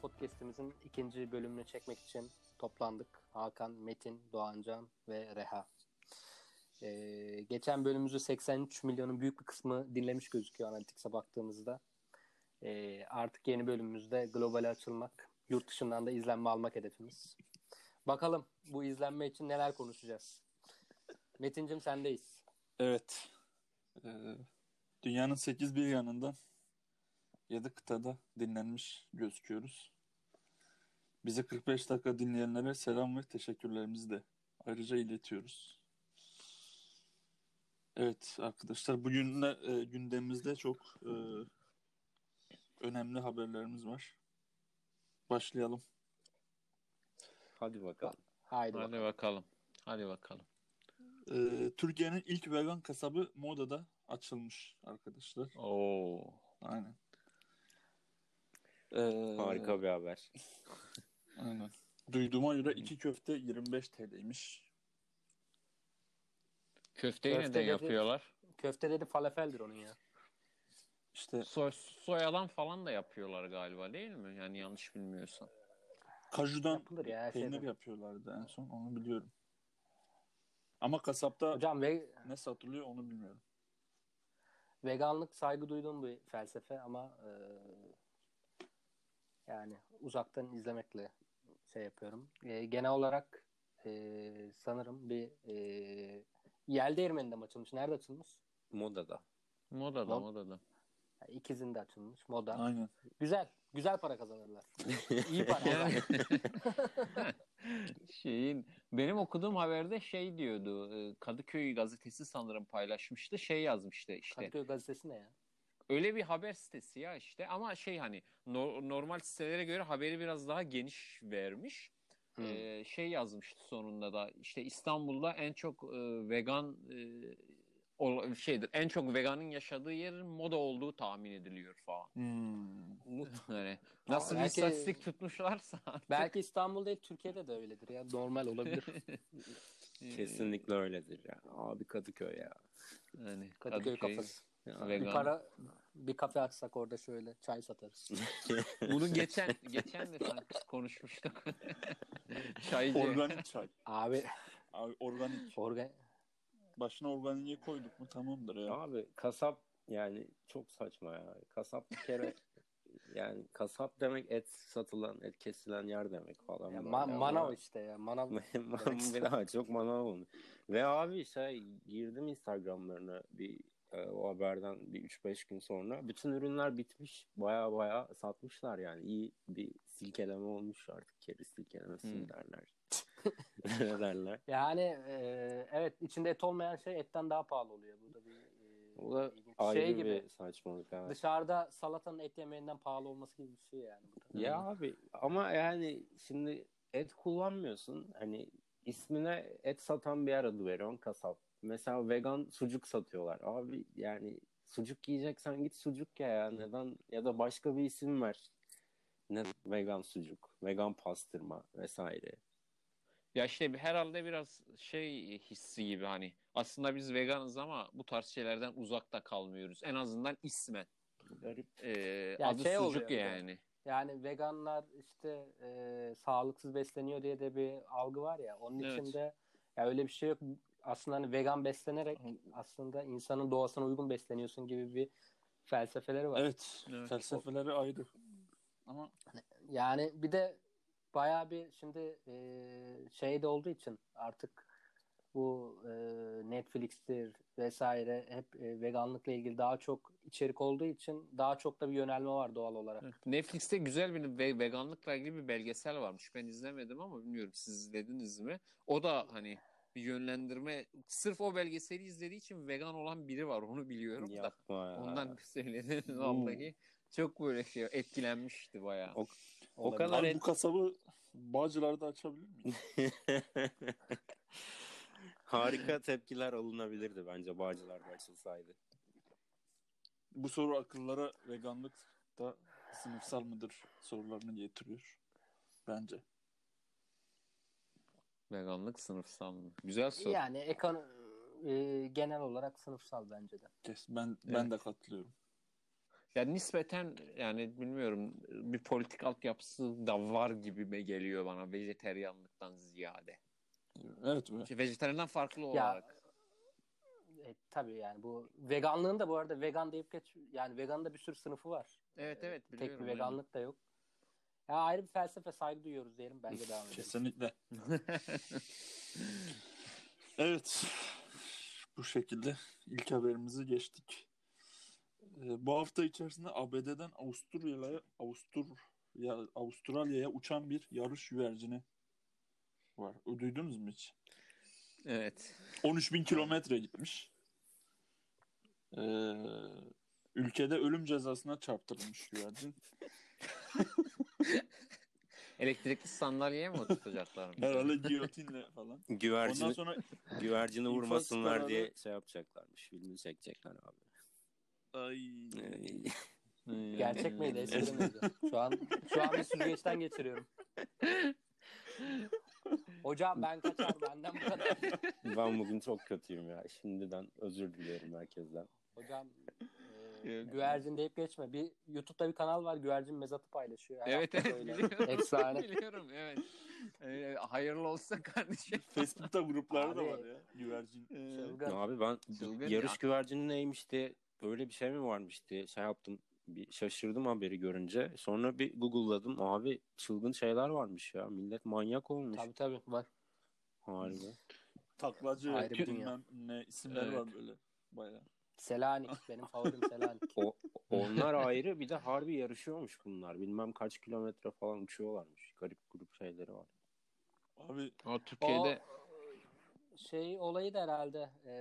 podcast'imizin ikinci bölümünü çekmek için toplandık. Hakan, Metin, Doğancan ve Reha. Ee, geçen bölümümüzü 83 milyonun büyük bir kısmı dinlemiş gözüküyor Analytics'e baktığımızda. Ee, artık yeni bölümümüzde globale açılmak, yurt dışından da izlenme almak hedefimiz. Bakalım bu izlenme için neler konuşacağız. Metin'cim sendeyiz. Evet. Ee, dünyanın 8 bir yanından 7 kıtada dinlenmiş gözüküyoruz. Bizi 45 dakika dinleyenlere selam ve teşekkürlerimizi de ayrıca iletiyoruz. Evet arkadaşlar bugün de, e, gündemimizde çok e, önemli haberlerimiz var. Başlayalım. Hadi bakalım. Haydi Hadi bakalım. bakalım. Hadi bakalım. E, Türkiye'nin ilk vegan kasabı Moda'da açılmış arkadaşlar. Oo. Aynen. Ee, Harika bir haber. Aynen. Duyduğuma göre iki köfte 25 TL'ymiş. Köfteyi Köfte neden dedi- yapıyorlar? Köfte dedi falafeldir onun ya. İşte Soy, soyalan falan da yapıyorlar galiba değil mi? Yani yanlış bilmiyorsam. kajudan Yapılır ya her peynir şeyden. yapıyorlardı en son onu biliyorum. Ama kasapta Hocam ve ne satılıyor onu bilmiyorum. veganlık saygı duyduğum bir felsefe ama e, yani uzaktan izlemekle şey yapıyorum. E, genel olarak e, sanırım bir e, Yel Değirmeni'nde mi açılmış? Nerede açılmış? Moda'da. Modada Lan- modada. Yani ikizinde açılmış. Moda. Aynen. Güzel. Güzel para kazanırlar. İyi para. Yani- Şeyin benim okuduğum haberde şey diyordu. e, Kadıköy gazetesi sanırım paylaşmıştı. Şey yazmıştı işte. Kadıköy gazetesi ne ya? Öyle bir haber sitesi ya işte ama şey hani no- normal sitelere göre haberi biraz daha geniş vermiş. Hmm. Ee, şey yazmıştı sonunda da işte İstanbul'da en çok e, vegan e, ol- şeydir en çok veganın yaşadığı yerin moda olduğu tahmin ediliyor falan. Hmm. Yani nasıl bir belki- istatistik tutmuşlarsa Belki İstanbul değil Türkiye'de de öyledir ya. Normal olabilir. hani e, Kesinlikle öyledir ya. Abi Kadıköy ya. yani Kadıköy kafası. Bir hani vegan. para bir kafe açsak orada şöyle çay satarız. Bunu geçen geçen de sanki konuşmuştuk. Çaycı. Organik çay. Abi Abi organik. organ Başına organiğe koyduk mu tamamdır ya. Abi kasap yani çok saçma ya. Kasap bir kere yani kasap demek et satılan, et kesilen yer demek falan. Ya, böyle ma- ama- manav işte ya. Manav bir daha çok manav olmuş. Ve abi şey girdim Instagram'larına bir e, o haberden bir 3-5 gün sonra. Bütün ürünler bitmiş. Baya baya satmışlar yani. İyi bir silkeleme olmuş artık. Keri silkelemesi Hmm. mi derler. ne derler. yani e, evet içinde et olmayan şey etten daha pahalı oluyor. Bu da bir e, O da ilginç. ayrı şey gibi. bir saçmalık. Evet. Dışarıda salatanın et yemeğinden pahalı olması gibi bir şey yani. Bu da. Ya abi ama yani şimdi et kullanmıyorsun. Hani ismine et satan bir yer adı veriyorsun kasap. Mesela vegan sucuk satıyorlar. Abi yani sucuk yiyeceksen git sucuk ya ya. Neden ya da başka bir isim ver. Ne vegan sucuk, vegan pastırma vesaire. Ya işte bir- herhalde biraz şey hissi gibi hani aslında biz veganız ama bu tarz şeylerden uzakta kalmıyoruz. En azından ismen. Garip. Ee, Ya adı şey sucuk oluyor bir de. yani. Yani veganlar işte e, sağlıksız besleniyor diye de bir algı var ya. Onun Evet. için de ya öyle bir şey yok. Aslında hani vegan beslenerek aslında insanın doğasına uygun besleniyorsun gibi bir felsefeleri var. Evet. Evet. Felsefeleri ayrı. Ama Yani bir de bayağı bir şimdi e, şey de olduğu için artık bu e, Netflix'tir vesaire hep e, veganlıkla ilgili daha çok içerik olduğu için daha çok da bir yönelme var doğal olarak. Netflix'te güzel bir ve- veganlıkla ilgili bir belgesel varmış. Ben izlemedim ama bilmiyorum siz izlediniz mi? O da hani bir yönlendirme sırf o belgeseli izlediği için vegan olan biri var onu biliyorum da. Yapma ya. Ondan söyledim vallahi. Çok böyle şey etkilenmişti bayağı. O- o Olabilir. kadar abi et, bu kasabı Bağcılar'da açabilir miyiz? harika tepkiler alınabilirdi bence bağcılarda açılsaydı. Bu soru akıllara veganlık da sınıfsal mıdır sorularını getiriyor. Bence. Veganlık sınıfsal mı? Güzel soru. Yani ekono- e, genel olarak sınıfsal bence de. Kes, ben ben de katılıyorum. Yani nispeten yani bilmiyorum bir politik altyapısı da var gibime geliyor bana vejeteryanlıktan ziyade. Evet. İşte Vejeteryandan farklı Ya, olarak. E, tabii yani bu veganlığın da bu arada vegan deyip geç yani veganın da bir sürü sınıfı var. E, evet evet biliyorum. Tek bir veganlık da yok. Ya ayrı bir felsefe saygı duyuyoruz diyelim bence devam edelim. Kesinlikle. evet. Bu şekilde ilk haberimizi geçtik. Ee, bu hafta içerisinde ABD'den Avusturya'ya Avusturya, Avustralya'ya uçan bir yarış güvercini var. O Duydunuz mu hiç? Evet. 13 bin kilometre gitmiş. Ee, ülkede ölüm cezasına çarptırılmış güvercin. Elektrikli sandalyeye mi oturtacaklar? Herhalde giyotinle falan. Ondan Güvercini, sonra güvercini infaz vurmasınlar kararı- diye şey yapacaklarmış. Filmini çekecekler abi. Ay. Ee, Gerçek miydi? Espri miydi? Şu an şu an bir süzgeçten geçiriyorum. Hocam ben kaçar benden bu kadar. ben bugün çok kötüyüm ya. Şimdiden özür dilerim herkesten. Hocam e, güvercin deyip geçme. Bir YouTube'da bir kanal var güvercin mezatı paylaşıyor. Her Evet hafta evet böyle. biliyorum. Efsane. biliyorum evet. Ee, hayırlı olsa kardeşim. Facebook'ta grupları da Abi. Ee, var ya. Güvercin. şey, Çılgın. Abi ben Çılgın yarış ya. güvercini neymiş diye böyle bir şey mi varmış diye şey yaptım. Bir şaşırdım haberi görünce. Sonra bir Google'ladım. Abi çılgın şeyler varmış ya. Millet manyak olmuş. Tabii tabii var. Harika. Taklacı. Ayrı bir bilmem dünya. Ne isimler Evet. var böyle. Bayağı. Selanik benim favorim Selanik. O, onlar ayrı bir de harbi yarışıyormuş bunlar. Bilmem kaç kilometre falan uçuyorlarmış. Garip grup şeyleri var. Abi O Türkiye'de Şey olayı da herhalde e,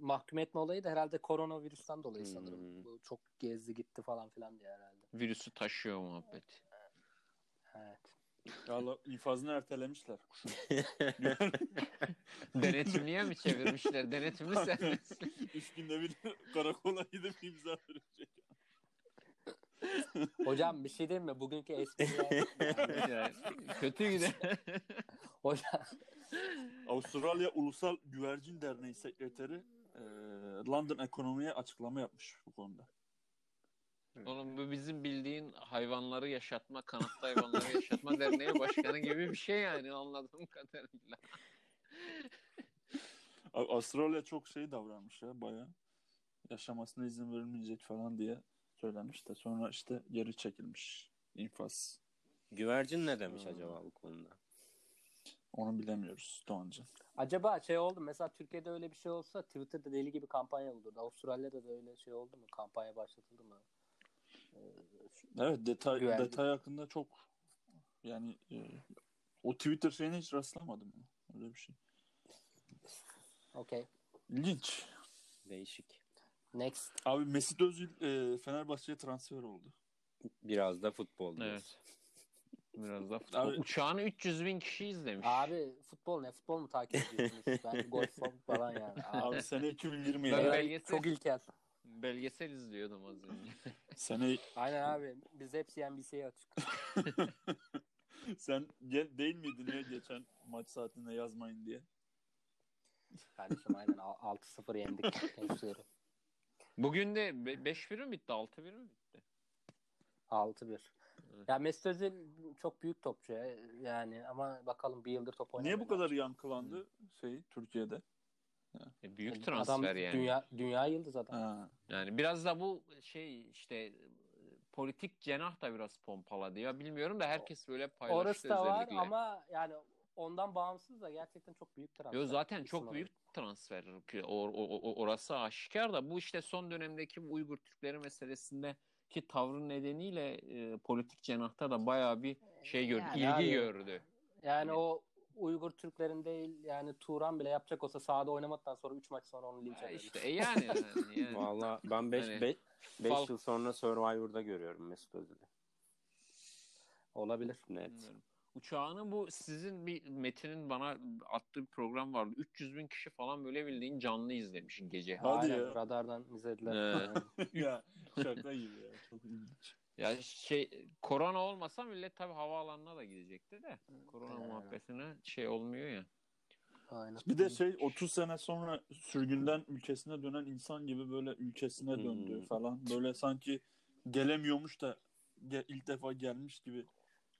mahkum etme olayı da herhalde koronavirüsten dolayı Hmm. sanırım. Bu çok gezdi gitti falan filan diye herhalde. virüsü taşıyor muhabbet. Evet. ya la- infazını ertelemişler. Kuşun. Denetimliye mi çevirmişler? Denetimli serbest. Üç günde bir karakola gidip imza verecek. Hocam bir şey diyeyim mi? Bugünkü espri Yani Kötü gider. hocam Avustralya Ulusal Güvercin Derneği Sekreteri e, London Ekonomi'ye açıklama yapmış bu konuda. Oğlum bu bizim bildiğin hayvanları yaşatma, kanatlı hayvanları yaşatma derneği başkanı gibi bir şey yani anladığım kadarıyla. Abi, Avustralya çok şey davranmış ya bayağı. Yaşamasına izin verilmeyecek falan diye söylenmiş de sonra işte geri çekilmiş infaz. Güvercin ne demiş acaba bu konuda? Onu bilemiyoruz Doğancı. acaba şey oldu mu? mesela Türkiye'de öyle bir şey olsa Twitter'da deli gibi kampanya olurdu. Avustralya'da da öyle şey oldu mu? Kampanya başlatıldı mı? Evet detay Güvenlik. detay hakkında çok yani e, o Twitter şeyine hiç rastlamadım ben. öyle bir şey. Okey. İlginç. Değişik. Next. Abi Mesut Özil e, Fenerbahçe'ye transfer oldu. Biraz da futbol diyoruz. Biraz da futbol. Abi- Uçağını 300 bin kişi izlemiş. Abi futbol ne? Futbol mu takip ediyorsunuz? ben golf falan yani. Abi, Abi sene 2020 Ben Evet, ya. belgesel- çok ilkel. Belgesel izliyordum az önce. sene Aynen abi. Biz hep CNBC'ye açık. sen gel değil miydin ya geçen maç saatinde yazmayın diye. Kardeşim aynen Al- 6-0 yendik gençleri. Bugün de be- 5-1 mi bitti? 6-1 mi bitti? 6-1. Ya Mesut Özil çok büyük topçu ya. yani ama bakalım bir yıldır top oynamıyor. Niye bu kadar yankılandı şey Türkiye'de? E, büyük Adam transfer yani. Dünya, dünya yıldız adam. Ha. Yani biraz da bu şey işte e, politik cenah da biraz pompaladı. Ya bilmiyorum da herkes böyle paylaştı Orası da var özellikle. ama yani ondan bağımsız da gerçekten çok büyük transfer. Yo zaten İsim çok olarak. büyük transfer. O, o- o- orası aşikar da bu işte son dönemdeki bu Uygur Türkleri meselesindeki tavrın nedeniyle e, politik cenahta da bayağı bir şey gördü, Yani ilgi abi- gördü. Yani o Uygur Türklerin değil yani Turan bile yapacak olsa sahada oynamadıktan sonra 3 maç sonra onu linç Ha, ederler. işte e, yani, yani, yani. Valla ben 5 Hani- Fal- yıl sonra Survivor'da görüyorum Mesut Özil'i. Olabilir. Net. Bilmiyorum. Uçağının bu sizin bir Metin'in bana attığı bir program vardı. 300 bin kişi falan böyle bildiğin canlı izlemiş gece. Hadi Aynen, ya. Radardan izlediler. Evet. ya şaka gibi ya. Çok ilginç. Ya şey korona olmasa millet tabii havaalanına da gidecekti de. Korona muhabbetine şey olmuyor ya. Aynen. Bir de şey 30 sene sonra sürgünden ülkesine dönen insan gibi böyle ülkesine döndü Hmm. falan. Böyle sanki gelemiyormuş da ge- ilk defa gelmiş gibi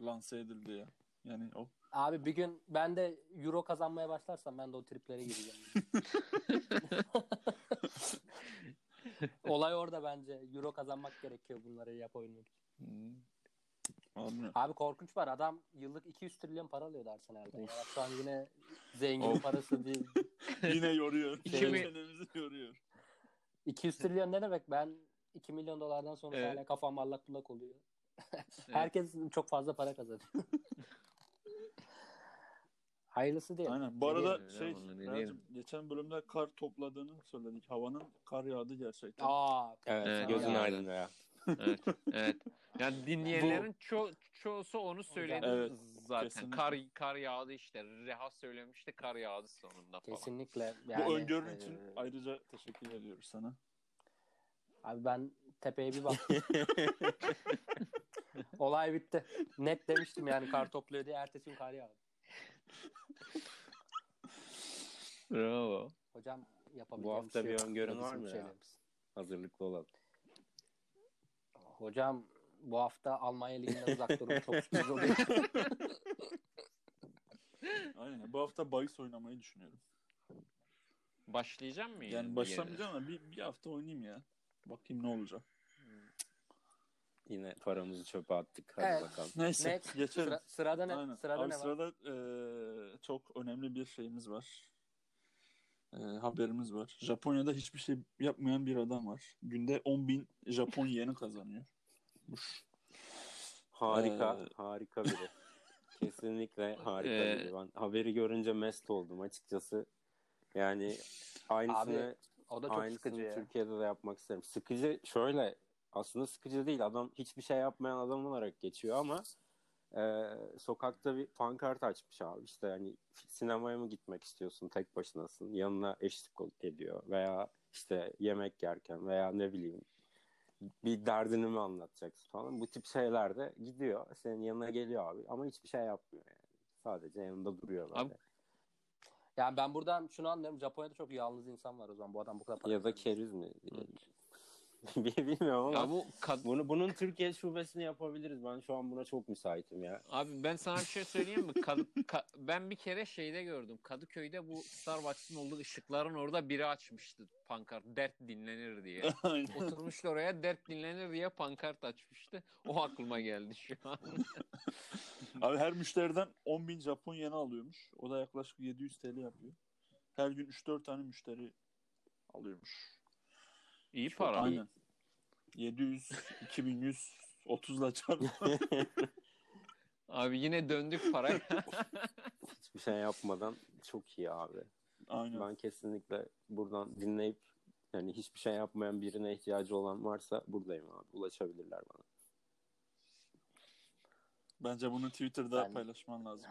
lanse edildi ya. Yani o Abi bir gün ben de euro kazanmaya başlarsam ben de o triplere gireceğim. Olay orada bence. Euro kazanmak gerekiyor bunları yapabilmek için. Abi, Abi korkunç var. Adam yıllık 200 trilyon para alıyordu Arsenal'den. Ya şu an yine zengin Of. parası değil. yine yoruyor. İki Şey, mi- çenemizi yoruyor. 200 trilyon ne demek? Ben 2 milyon dolardan sonra Evet. hala kafam allak bullak oluyor. Herkes çok fazla para kazanıyor. Hayırlısı değil. Aynen. Bu arada Deneyelim ya, şey onu deneyelim. Meral'cim, geçen bölümde kar topladığını söyledik. Havanın kar yağdı gerçekten. Aa, Evet, Evet, gözün yani. aydın ya. evet, evet. Yani dinleyenlerin ço- çoğusu onu söyledi Evet, zaten. kesinlikle. Kar kar yağdı işte. Reha söylemişti kar yağdı sonunda falan. kesinlikle. Bu Yani, öngörün e, için ayrıca teşekkür ediyoruz sana. Abi ben tepeye bir baktım. Olay bitti. Net demiştim yani kar topluyor diye. Ertesi gün kar yağdı. Bravo. Hocam Bu yapabileceğim hafta şey bir yok. öngörün var Bizim mı ya? şeylerimiz. Hazırlıklı olalım. Hocam bu hafta Almanya Ligi'nden uzak durun. Çok sürpriz oluyor. Aynen. Bu hafta bahis oynamayı düşünüyorum. Başlayacağım mı? Yani başlamayacağım ama bir, bir hafta oynayayım ya. Bakayım ne olacak. Yine paramızı çöpe attık. Hadi Evet. bakalım. Neyse Next. geçelim. Sıra, sırada ne, Aynen. sırada Abi ne var? sırada eee, çok önemli bir şeyimiz var. Eee, haberimiz var. Japonya'da hiçbir şey yapmayan bir adam var. Günde 10 bin Japon yeni kazanıyor. Harika, Ee, harika biri. Kesinlikle harika Ee, biri. Ben haberi görünce mest oldum açıkçası. Yani aynısını, O da çok sıkıcı aynısını ya. Türkiye'de de yapmak isterim. Sıkıcı şöyle, aslında sıkıcı değil. Adam hiçbir şey yapmayan adam olarak geçiyor ama e, sokakta bir pankart açmış abi. İşte hani sinemaya mı gitmek istiyorsun tek başınasın? Yanına eşlik ediyor veya işte yemek yerken veya ne bileyim bir derdini mi anlatacaksın falan. Bu tip şeyler de gidiyor. Senin yanına geliyor abi ama hiçbir şey yapmıyor yani. Sadece yanında duruyor böyle. Abi- Yani ben buradan şunu anlıyorum. Japonya'da çok yalnız insan var o zaman. Bu adam bu kadar para ya da kazanıyor. keriz mi? Bilmiyorum ama Ya bu kad- bunu bunun Türkiye şubesini yapabiliriz. Ben şu an buna çok müsaitim ya. Abi ben sana bir şey söyleyeyim mi? Kad- ka- ben bir kere şeyde gördüm. Kadıköy'de bu Starbucks'ın olduğu ışıkların orada biri açmıştı pankart. Dert dinlenir diye. Aynen. Oturmuşlar oraya dert dinlenir diye pankart açmıştı. O aklıma geldi şu an. Abi her müşteriden 10 bin Japon yeni alıyormuş. O da yaklaşık 700 TL yapıyor. Her gün 3-4 tane müşteri alıyormuş. İyi para. Aynen. 700, 2100, 30'la çarp. Abi yine döndük paraya. Hiçbir şey yapmadan çok iyi abi. Aynen. Ben kesinlikle buradan dinleyip yani hiçbir şey yapmayan birine ihtiyacı olan varsa buradayım abi. Ulaşabilirler bana. Bence bunu Twitter'da Ben- paylaşman lazım.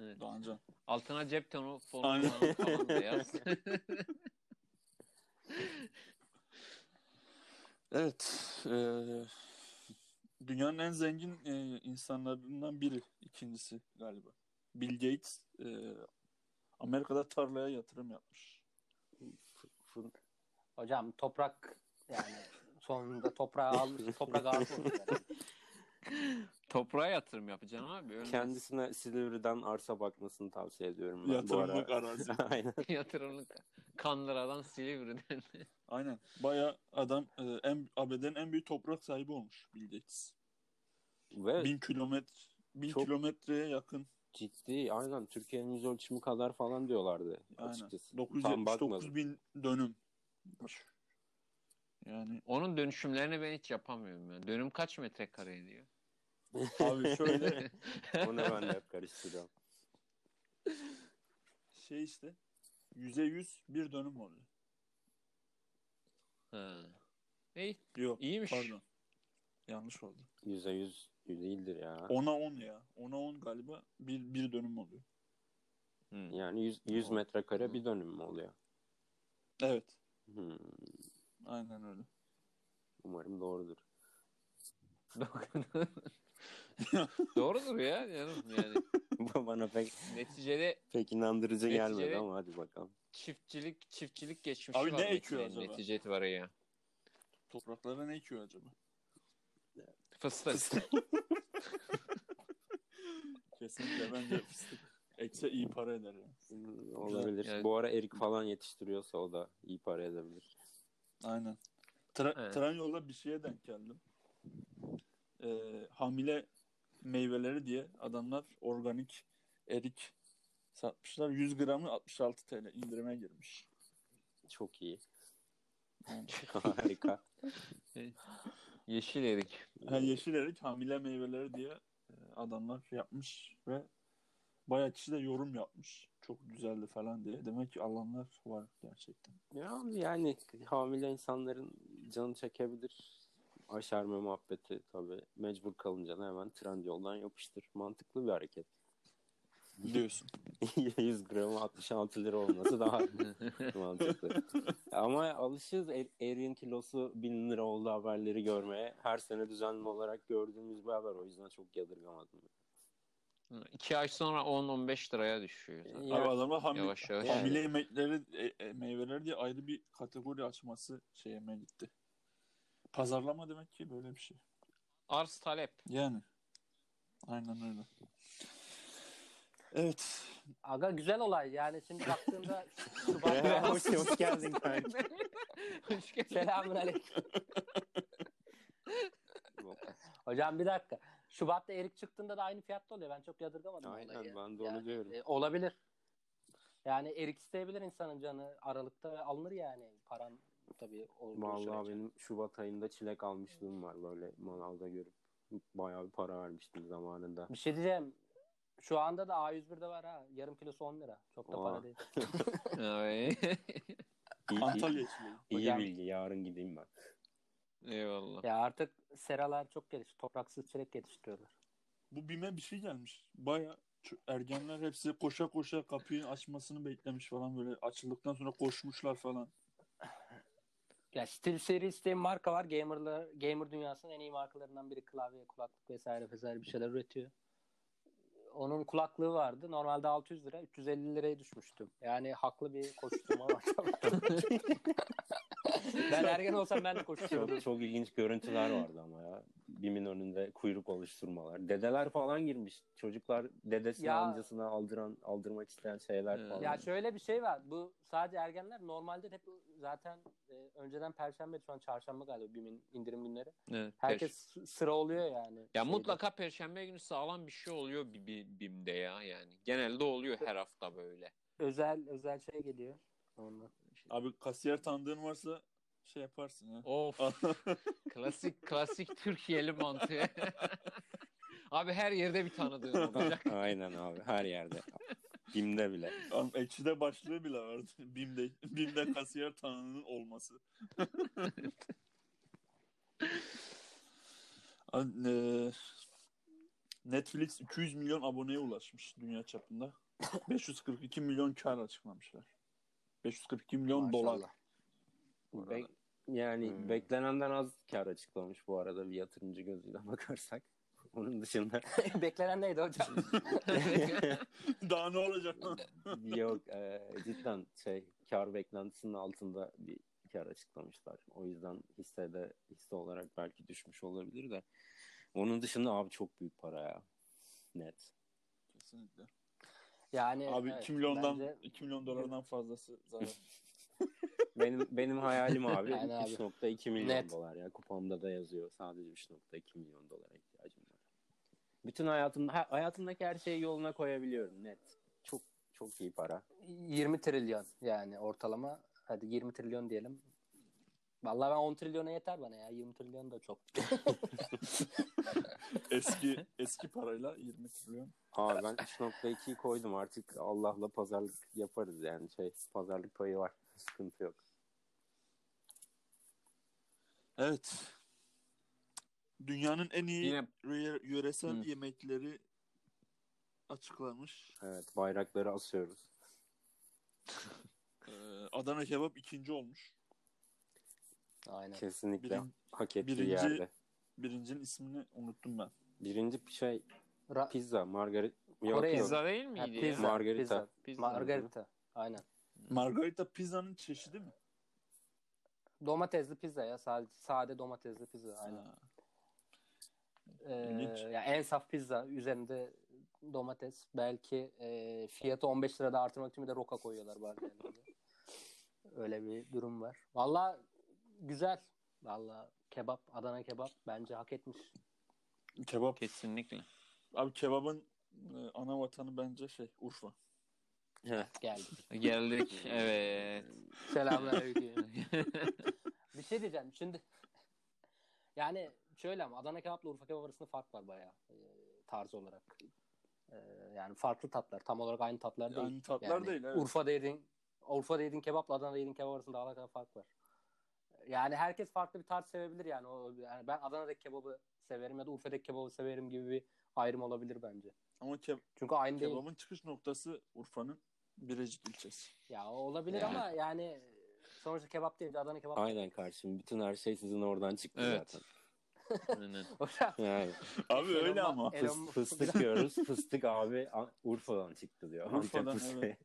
Evet. Daha önce. Altına cep telefonu Aynen. falan- falan da yaz. Evet. eee, dünyanın en zengin eee, insanlarından biri. ikincisi galiba. Bill Gates eee, Amerika'da tarlaya yatırım yapmış. Hocam toprak yani sonunda toprağı almış. toprak ağası olmuş yani. Toprağa yatırım yapacaksın abi. Öyle Kendisine Silivri'den arsa bakmasını tavsiye ediyorum ben bu Yatırımlık ara. arazi. Aynen. yatırımlık. Kandıradan Silivri'den. Aynen. Baya adam eee, en ABD'nin en büyük toprak sahibi olmuş Bill Gates. Ve Bin kilometre bin Çok- kilometreye yakın. ciddi aynen Türkiye'nin yüz ölçümü kadar falan diyorlardı Aynen. açıkçası. Tam 979 bakmadım. bin dönüm. Yani Onun dönüşümlerini ben hiç yapamıyorum. ya. Dönüm kaç metrekare ediyor? abi şöyle Onu ben de hep karıştırıyorum. şey işte yüze yüz bir dönüm oluyor. Ha. İyi, Yok. iyiymiş. Pardon. Yanlış oldu. Yüzde yüz değildir ya. 10'a 10 ya. 10'a 10 galiba bir, bir dönüm oluyor. Hı. Yani 100, 100 metrekare bir dönüm mü oluyor? Evet. Hmm, Aynen öyle. umarım doğrudur. Doğrudur ya canım yani. Bu Bana pek Neticede pek inandırıcı Neticeye- gelmedi ama hadi bakalım. çiftçilik çiftçilik geçmişi Abi var. ne Metin'in ekiyor acaba? Neticeti var ya. Topraklara ne ekiyor acaba? Fıstık. Kesinlikle bence fıstık. Ekse iyi para eder yani. Olabilir. Evet. Bu ara erik falan yetiştiriyorsa o da iyi para edebilir. Aynen. Tra- Evet. Tren yolda bir şeye denk geldim. Ee, hamile meyveleri diye adamlar organik erik satmışlar. 100 gramı 66 TL indirime girmiş. Çok iyi. Yani, Harika. Yeşil erik. ha, yeşil erik hamile meyveleri diye e, adamlar şey yapmış ve bayağı kişi de yorum yapmış. Çok güzeldi falan diye. Demek ki alanlar var gerçekten. Ya, yani hamile insanların canı çekebilir. Aşerme muhabbeti tabii. Mecbur kalınca da hemen trend yoldan yapıştır. Mantıklı bir hareket. Diyorsun. 100 gramı 66 lira olması daha mantıklı. Ama alışığız er, eriğin kilosu 1000 lira oldu haberleri görmeye. Her sene düzenli olarak gördüğümüz bir haber. O yüzden çok yadırgamadım. İki ay sonra 10-15 liraya düşüyor. zaten. Ya, Abi adamlar hamile, Yavaş yavaş. Yani. Hamile yemekleri, e, e, meyveleri diye ayrı bir kategori açması şey yemeğe gitti. Pazarlama demek ki böyle bir şey. Arz talep. Yani. Aynen öyle. Evet. Aga güzel olay yani şimdi baktığında Ya, Şubat hoş, hoş geldin kanka. Hoş geldin. Selamünaleyküm. Hocam bir dakika. Şubat'ta erik çıktığında da aynı fiyatta oluyor. Ben çok yadırgamadım Aynen, olayı. ben de onu diyorum. e, olabilir. Yani erik isteyebilir insanın canı Aralık'ta ve alınır yani. Paran tabii olduğu Vallahi sürece. benim Şubat ayında çilek almışlığım var böyle manavda görüp. Bayağı bir para vermiştim zamanında. Bir şey diyeceğim. Şu anda da A101'de var ha. Yarım kilosu 10 lira. Çok da Aa. para değil. Ay, İyi, iyi, Antalya içmeyi. iyi Hocam. bilgi. Yarın gideyim ben. Eyvallah. Ya artık seralar çok gelişti. Topraksız çilek yetiştiriyorlar. Bu BİM'e bir şey gelmiş. Baya şu ergenler hepsi koşa koşa kapıyı açmasını beklemiş falan böyle açıldıktan sonra koşmuşlar falan. Ya SteelSeries diye bir marka var. Gamerlar, gamer dünyasının en iyi markalarından biri. Klavye, kulaklık vesaire vesaire bir şeyler üretiyor. Onun kulaklığı vardı. Normalde 600 lira. 350 liraya düşmüştüm. Yani haklı bir koşturma var. ben ergen olsam ben de koşturdum. Çok, çok ilginç görüntüler vardı ama ya. Bimin önünde kuyruk oluşturmalar. Dedeler falan girmiş. Çocuklar dedesine Ya. Ee, amcasına aldıran, aldırmak isteyen şeyler Evet. falan. Ya şöyle bir şey var. Bu sadece ergenler normalde de hep zaten e, önceden perşembe şu an çarşamba galiba BİM'in indirim günleri. Evet, Herkes şey perş- s- sıra oluyor yani. Ya Şeyde. mutlaka perşembe günü sağlam bir şey oluyor bi- bi- BİM'de ya yani. Genelde oluyor her hafta böyle. özel özel şey geliyor. Ondan. Abi kasiyer tanıdığın varsa şey yaparsın ya. Of. klasik klasik Türkiye'li mantığı. Abi her yerde bir tanıdığın olacak. Aynen abi her yerde. Bim'de bile. Abi Ekşi'de başlığı bile vardı. BİM'de, BİM'de kasiyer tanının olması. Abi, e, Netflix 200 milyon aboneye ulaşmış dünya çapında. 542 milyon kar açıklamışlar. 542 milyon dolar. Be- yani beklenenden az kar açıklamış bu arada bir yatırımcı gözüyle bakarsak. Onun dışında Beklenen neydi hocam? Daha ne olacak lan? yok e, cidden şey kar beklentisinin altında bir kar açıklamışlar. O yüzden hissede hisse olarak belki düşmüş olabilir de. Onun dışında abi çok büyük para ya. Net. Kesinlikle. Yani Abi evet, 2 milyondan bence- 2 milyon dolardan fazlası zarar. Benim benim hayalim abi Yani abi. 3.2 milyon Net. dolar ya. Kupamda da yazıyor. Sadece 3.2 milyon dolara ihtiyacım var. Bütün hayatımda ha- hayatımdaki her şeyi yoluna koyabiliyorum net. Çok çok iyi para. 20 trilyon yani ortalama. Hadi 20 trilyon diyelim. Vallahi ben 10 trilyona yeter bana ya. 20 trilyon da çok. Eski eski parayla 20 trilyon. Ha ben 3.2'yi koydum artık Allah'la pazarlık yaparız yani şey pazarlık payı var. Sıkıntı yok. Evet. Dünyanın en iyi Yine- yö- yöresel Hı. yemekleri açıklanmış. Evet bayrakları asıyoruz. Ee, Adana kebap ikinci olmuş. Aynen. Kesinlikle Birin- hak ettiği birinci- yerde. Birincinin ismini unuttum ben. Birinci şey Ra- pizza margarit yok, Kore yok. Pizza değil Ha, miydi ya? pizza, Margarita. Pizza. Pizza. Margarita. Aynen. Margarita pizzanın çeşidi mi? Domatesli pizza ya. Sade, sade domatesli pizza. Aynen. Ha. Ee, İlginç. ya en saf pizza üzerinde domates belki e, fiyatı 15 lirada artırmak için bir de roka koyuyorlar bari. yani. Öyle bir durum var. Valla güzel. Valla kebap, Adana kebap bence hak etmiş. Ee, Kebap. Kesinlikle. Abi kebabın e, ana vatanı bence şey Urfa. Geldik. Geldik. evet. Selamünaleyküm. bir şey diyeceğim şimdi. Yani şöyle ama Adana kebapla Urfa kebap arasında fark var bayağı e, tarz olarak. E, yani farklı tatlar. Tam olarak aynı tatlar değil. Yani tatlar değil, evet. Urfa'da yediğin, Urfa'da yediğin kebapla Adana'da yediğin kebap arasında dağlar kadar fark var. Yani herkes farklı bir tarz sevebilir yani. O, yani ben Adana'daki kebabı severim ya da Urfa'daki kebabı severim gibi bir ayrım olabilir bence. Ama ke- Çünkü aynı değil. kebabın çıkış noktası Urfa'nın Birecik ilçesi. Ya olabilir Yani. ama yani sonuçta kebap deyince Adana kebap Aynen kardeşim. Bütün her şey sizin oradan çıktı Evet. zaten. Aynen. Yani Abi Elon öyle Musk- ama. Elon fıs- Musk- fıstık yiyoruz. Fıstık abi A- Urfa'dan çıktı diyor. Urfa'dan, Antep fıstığı. evet.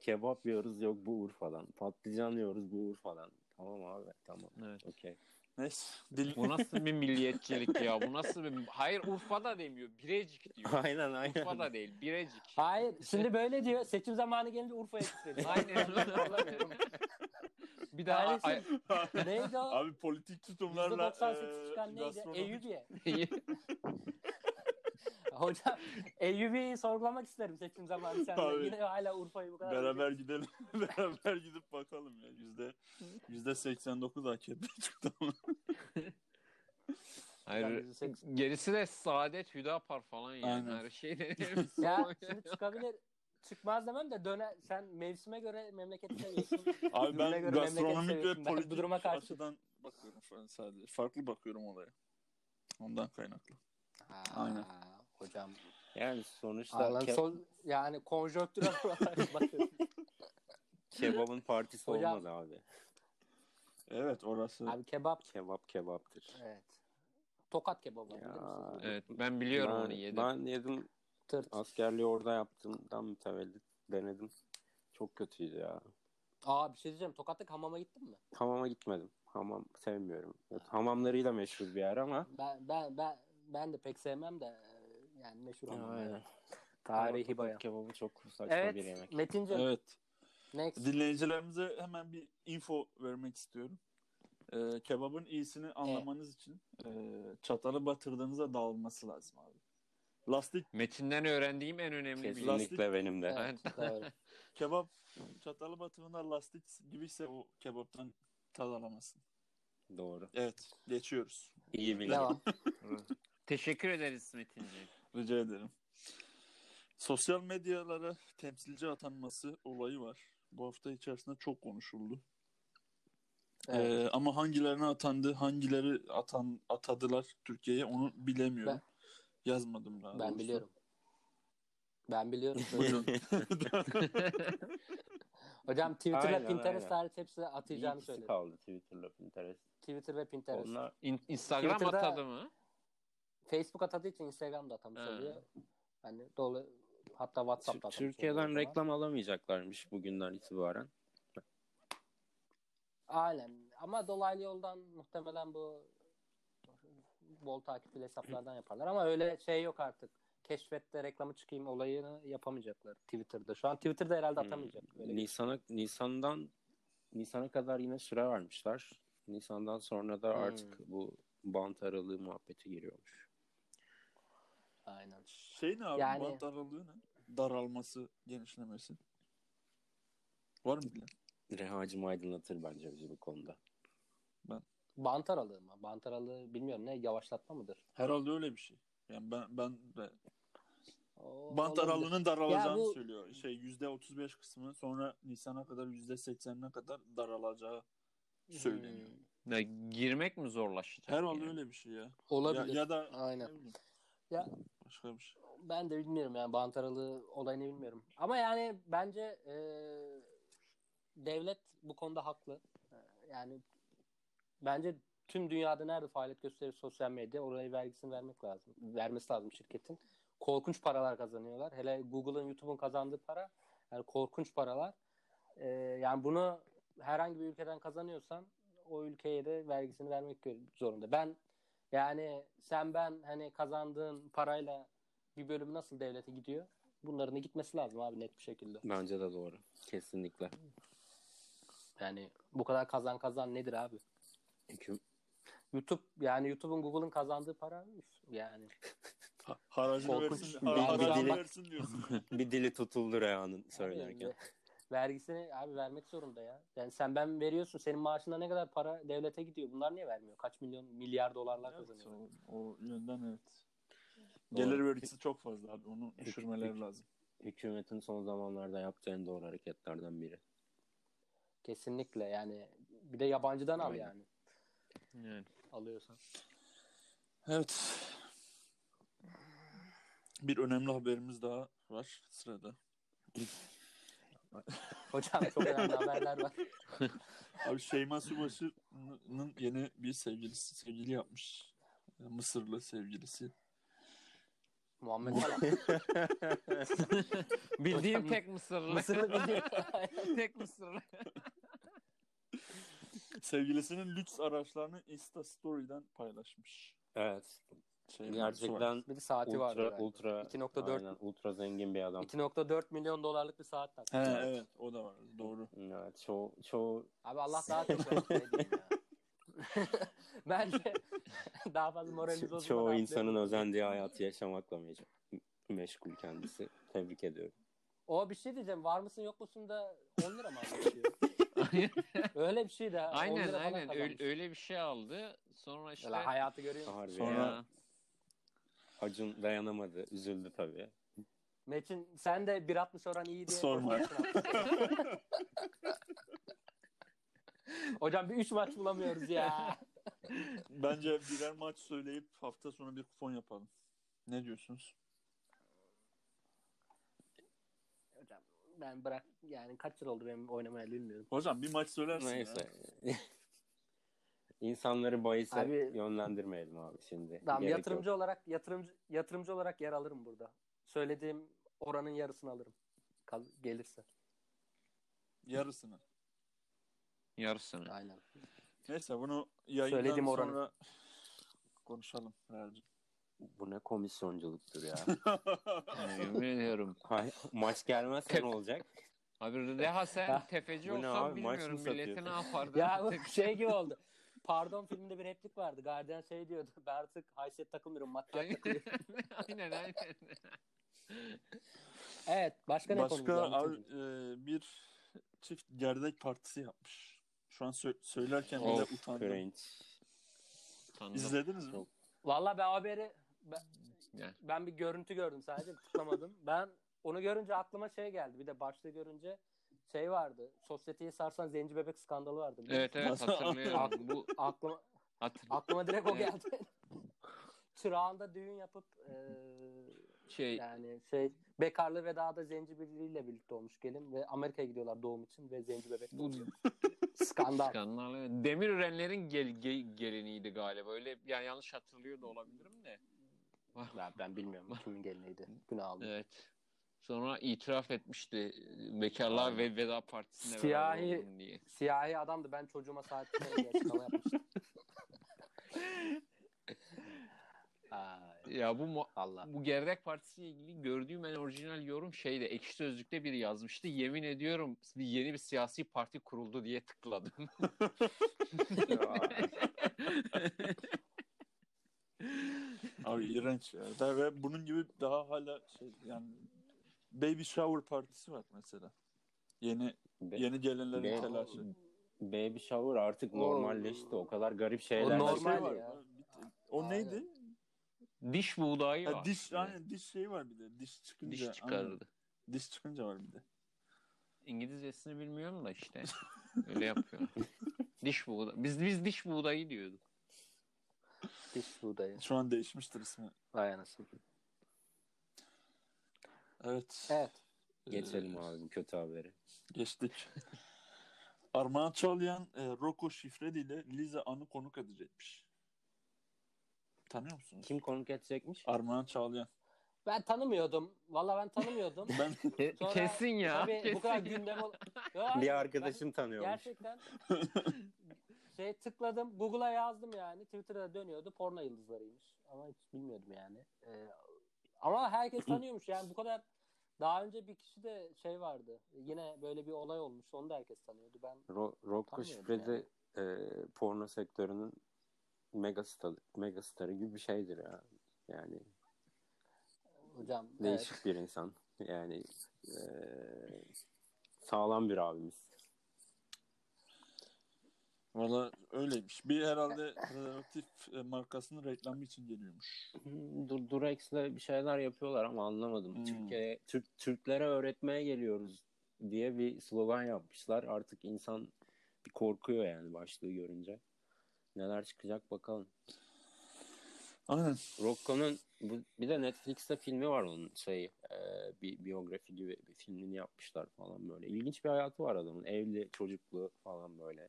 Kebap yiyoruz yok bu Urfa'dan. Patlıcan yiyoruz bu Urfa'dan. Tamam abi tamam. Evet. Okey. Neyse. Dil... Bu nasıl bir milliyetçilik ya? Bu nasıl bir... Hayır Urfa'da demiyor. Birecik diyor. Aynen aynen. Urfa'da değil. Birecik. Hayır Şey- şimdi böyle diyor. Seçim zamanı gelince Urfa'ya küfrediyor. Aynen. bir daha... Ailesi- Ay- neydi o? Abi politik tutumlarla %98 e, çıkan neydi? gastronomi- Eyyubiye. Hocam Eyyubi'yi sorgulamak isterim seçim zamanı. Sen de Abi. yine hala Urfa'yı bu kadar... Beraber gidelim. Beraber gidip bakalım ya. Yüzde, yüzde 89 AKP çıktı ama. Yani Hayır. yüzde seksen. Gerisi de Saadet Hüdapar falan yani. Aynen. Her şey de- Ya şimdi çıkabilir. Çıkmaz demem de döne sen mevsime göre memleketi seviyorsun. Abi Birbirine ben göre memleket gastronomik seviyorsun. ve Ben bu politik duruma karşı- açıdan bakıyorum falan sadece. Farklı bakıyorum olaya. Ondan kaynaklı. Ha, Aynen. Hocam. Yani sonuçta Allah, ke- son, yani konjonktüre olarak bakıyorsun. kebabın partisi Hocam- olmaz abi. Evet orası. Abi kebap. Kebap kebaptır. Evet. Tokat kebabı. var, bilir Ya. misiniz? Evet ben biliyorum ben, onu yedim. ben yedim. Tırt. Askerliği orada yaptığımdan mütevellit denedim. Çok kötüydü ya. Aa bir şey diyeceğim. Tokat'taki hamama gittin mi? Hamama gitmedim. Hamam sevmiyorum. Evet, hamamlarıyla meşhur bir yer ama. Ben ben ben ben de pek sevmem de e, yani meşhur hamam. Aynen. Tarihi Ama bayağı. Kebabı çok saçma bir Evet. yemek. Metince Evet. next. Dinleyicilerimize hemen bir info vermek istiyorum. Ee, kebabın iyisini anlamanız için e, çatalı batırdığınızda dağılması lazım abi. Lastik Metinden öğrendiğim en önemli Kesinlikle bilgi. Lastik- benim de. Evet, doğru. kebap çatalı batırdığında lastik gibiyse o kebaptan tad alamazsın. Doğru. Evet geçiyoruz. İyi bilgi. Devam. şey Teşekkür ederiz Metin'ciğim. Rica ederim. Sosyal medyalara temsilci atanması olayı var. Bu hafta içerisinde çok konuşuldu. Evet. Ee, ama hangilerine atandı, hangileri atan atadılar Türkiye'ye onu bilemiyorum. Yazmadım daha. ben doğrusu. biliyorum. Ben biliyorum. Buyurun. Hocam Twitter'la Aynen, Pinterest aynen. hariç hepsi atacağını İkisi söyledi. kaldı Twitter'la Pinterest. Twitter ve Pinterest. Onlar İn- Instagram Twitter'da- atadı mı? Facebook atadığı için Instagram'da atamış Ha. oluyor. Hani dolu hatta Tür- WhatsApp'ta atamış oluyor Türkiye'den falan. reklam alamayacaklarmış bugünden itibaren. Aynen. Ama dolaylı yoldan muhtemelen bu bol takipli hesaplardan yaparlar. Ama öyle şey yok artık. Keşfette reklamı çıkayım olayını yapamayacaklar Twitter'da. Şu an Twitter'da herhalde Hmm, atamayacak. Öyle. Nisan'a Nisan'dan Nisan'a kadar yine süre vermişler. Nisan'dan sonra da artık bu bant aralığı muhabbeti giriyormuş. Aynen. şey ne abi? Yani- bant aralığı ne? Daralması, genişlemesi. Var mı bilen? Rehacım aydınlatır bence bizi bu konuda. Bant aralığı mı? Bant aralığı bilmiyorum ne yavaşlatma mıdır? Herhalde öyle bir şey. Yani ben ben de O- Bant olabilir. aralığının daralacağını Ya bu- söylüyor. Şey yüzde 35 kısmı sonra Nisan'a kadar yüzde 80'ine kadar daralacağı söyleniyor. Hmm, Ya, girmek mi zorlaşacak? Herhalde yani? öyle bir şey ya. olabilir. Ya, ya da Aynen. ne bileyim, Ya- başka bir şey. Ben de bilmiyorum yani bant aralığı olayını bilmiyorum. Ama yani bence e, devlet bu konuda haklı. E, Yani bence tüm dünyada nerede faaliyet gösterir sosyal medya oraya vergisini vermek lazım. Vermesi lazım şirketin. Korkunç paralar kazanıyorlar. Hele Google'ın, YouTube'un kazandığı para yani korkunç paralar. E, yani bunu herhangi bir ülkeden kazanıyorsan o ülkeye de vergisini vermek gö- zorunda. Ben Yani sen ben hani kazandığın parayla bir bölümü nasıl devlete gidiyor? Bunların da gitmesi lazım abi net bir şekilde. Bence de doğru. Kesinlikle. Yani bu kadar kazan kazan nedir abi? Çünkü YouTube yani YouTube'un Google'ın kazandığı para üf, yani Ha- Haracını Korkunç. versin, Bir- ha- bir haracını dilek- versin diyorsun. bir dili tutuldu Reha'nın Abi, söylerken. ve- vergisini abi vermek zorunda ya. Yani sen ben veriyorsun. Senin maaşında ne kadar para devlete gidiyor? Bunlar niye vermiyor? Kaç milyon milyar dolarlar Evet, kazanıyor. o, o yönden evet. Gelir vergisi çok fazla abi. Onu düşürmeleri lazım. Hükümetin son zamanlarda yaptığı en doğru hareketlerden biri. Kesinlikle yani bir de yabancıdan al Aynen. yani. Yani. Alıyorsan. Evet. Bir önemli haberimiz daha var sırada. Hocam çok önemli haberler var. Abi Şeyma Subaşı'nın yeni bir sevgilisi sevgili yapmış. Mısırlı sevgilisi. Muhammed Salah. Bildiğim tek Mısırlı. Mısırlı bildiğin. tek Mısırlı. Sevgilisinin lüks araçlarını Insta Story'den paylaşmış. Evet. Şeyma Subaşı. Gerçekten bir de saati var. ultra galiba. ultra 2.4 aynen, ultra zengin bir adam. 2.4 milyon dolarlık bir saat tak. He, evet. o da var. Doğru. Evet, çoğu çoğu Abi Allah daha çok versin, ne diyeyim ya. ben de daha fazla moralimiz şey olsun. çoğu insanın özendiği hayatı yaşamakla meş- meşgul kendisi. Tebrik ediyorum. O bir şey diyeceğim. Var mısın yok musun da 10 lira mı alıyor? Öyle bir şey de. ha, 10 aynen lira falan aynen kazanmış. öyle, öyle bir şey aldı. Sonra işte Ulan hayatı görüyor musun? Harbi Ya. Sonra- ya. Acun dayanamadı, üzüldü tabii. Metin sen de 1.60 oran iyi diye. Sorma. Hocam bir 3 maç bulamıyoruz ya. Bence birer maç söyleyip hafta sonu bir kupon yapalım. Ne diyorsunuz? Hocam ben bırak yani kaç yıl oldu benim oynamaya bilmiyorum. Hocam bir maç söylersin Neyse. ya. İnsanları bahise Abi- yönlendirmeyelim abi şimdi. Tamam Gerek yatırımcı yok. olarak yatırımcı yatırımcı olarak yer alırım burada. Söylediğim oranın yarısını alırım. Kal- gelirse. Yarısını. yarısını. Aynen. Neyse bunu yayından Söylediğim oranı. sonra konuşalım. herhalde. Bu ne komisyonculuktur ya. Yemin ediyorum. Hay- maç gelmezse ne olacak? Abi Reha sen tefeci Bu ne olsan abi, maç mı bilmiyorum milleti ne satıyor? yapardı. Ya bu şey gibi oldu. Pardon filminde bir replik vardı. Guardian şey diyordu. Ben artık haysiyet takılmıyorum. Maddiyat aynen takılıyorum. aynen. aynen. Evet. Başka ne konumuz Başka var? abi, e, bir çift gerdek partisi yapmış. Şu an sö- söylerken bile Of utandım. cringe. Utandım. İzlediniz mi? Yok. Valla ben haberi ben, Yani. ben bir görüntü gördüm sadece tıklamadım. ben onu görünce aklıma şey geldi. Bir de başta görünce şey vardı. Sosyeteyi sarsan zenci bebek skandalı vardı. biliyor Evet evet hatırlıyorum. Bu musun? Aklıma, hatır, aklıma direkt o geldi. Çırağında düğün yapıp e, şey yani şey bekarlı vedada zenci biriyle birlikte olmuş gelin ve Amerika'ya gidiyorlar doğum için ve zenci bebek bu skandal. skandal. evet. Demir ürenlerin gel, ge- geliniydi galiba. Öyle yani yanlış hatırlıyor da olabilirim de. Ya ben bilmiyorum kimin geliniydi. Günah aldım. Evet. Sonra itiraf etmişti e, bekarlığa ve veda partisine Siyahi- beraber oldum diye. Siyahi adamdı. Ben çocuğuma saat tutarım diye açıklama yapmıştım. Ay, Ya bu mu- Allah. bu gerdek partisiyle ilgili gördüğüm en orijinal yorum şeyde ekşi sözlükte biri yazmıştı. Yemin ediyorum bir- yeni bir siyasi parti kuruldu diye tıkladım. Abi iğrenç ya. Da- Ve bunun gibi daha hala şey yani baby shower partisi var mesela. Yeni Be- yeni gelenlerin Be- telaşı. baby shower artık normalleşti. O kadar garip O şeyler. Bir normal şey var. ya. Bir- O Aynen. neydi? Diş buğdayı Ha, var. diş Evet. aynen diş şeyi var bir de. Diş çıkınca. Diş aynen. çıkardı. Diş çıkınca var bir de. İngilizcesini bilmiyorum da işte. Öyle yapıyor. diş buğdayı. Biz biz diş buğdayı diyorduk. Diş buğdayı. Şu an değişmiştir ismi. Vay anasını. Evet. Evet. Geçelim Ee, abi bu kötü haberi. Geçtik. Armağan Çağlayan e, Rocco Şifredi ile Liza An'ı konuk edecekmiş. Tanıyor musunuz? Kim konuk edecekmiş? Armağan Çağlayan. Ben tanımıyordum. Valla ben tanımıyordum. Ben Sonra- kesin ya. Tabii bu kadar kesin. gündem ol... Yo, hayır, Bir arkadaşım ben- tanıyormuş. Gerçekten Şey tıkladım. Google'a yazdım yani. Twitter'da dönüyordu. Porno yıldızlarıymış. Ama hiç bilmiyordum yani. Ee, ama herkes tanıyormuş. Yani bu kadar daha önce bir kişi de şey vardı. Yine böyle bir olay olmuş. Onu da herkes tanıyordu. Ben Ro- Rocco Utanmıyorum Şifredi e, porno sektörünün megastarı, megastarı gibi bir şeydir ya. Yani hocam değişik bir insan. Yani e, sağlam bir abimiz. Valla öyleymiş. Bir herhalde prezervatif e, markasının reklamı için geliyormuş. Hmm, Dur Durex'le bir şeyler yapıyorlar ama anlamadım. Hmm. Türkiye'ye Türk, Türklere öğretmeye geliyoruz diye bir slogan yapmışlar. Artık insan bir korkuyor yani başlığı görünce. Neler çıkacak bakalım. Aynen. Rocco'nun bu, bir de Netflix'te filmi var onun şey e, bir biyografi gibi bir filmini yapmışlar falan böyle. İlginç bir hayatı var adamın. Evli, çocuklu falan böyle.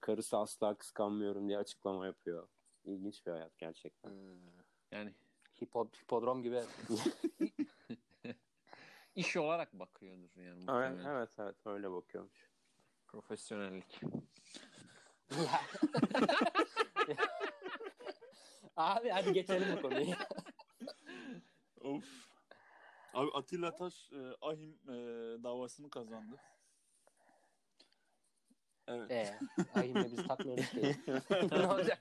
Karısı asla kıskanmıyorum diye açıklama yapıyor. İlginç bir hayat gerçekten. Yani hipo, hipodrom gibi. iş olarak bakıyordur yani. Evet, muhtemelen. evet, evet öyle bakıyormuş. Profesyonellik. Abi hadi geçelim bu konuyu. Of. Abi Atilla Taş e, Ahim e, davasını kazandı. Evet. Eee. Ahim'le biz takmıyoruz ki. ne olacak?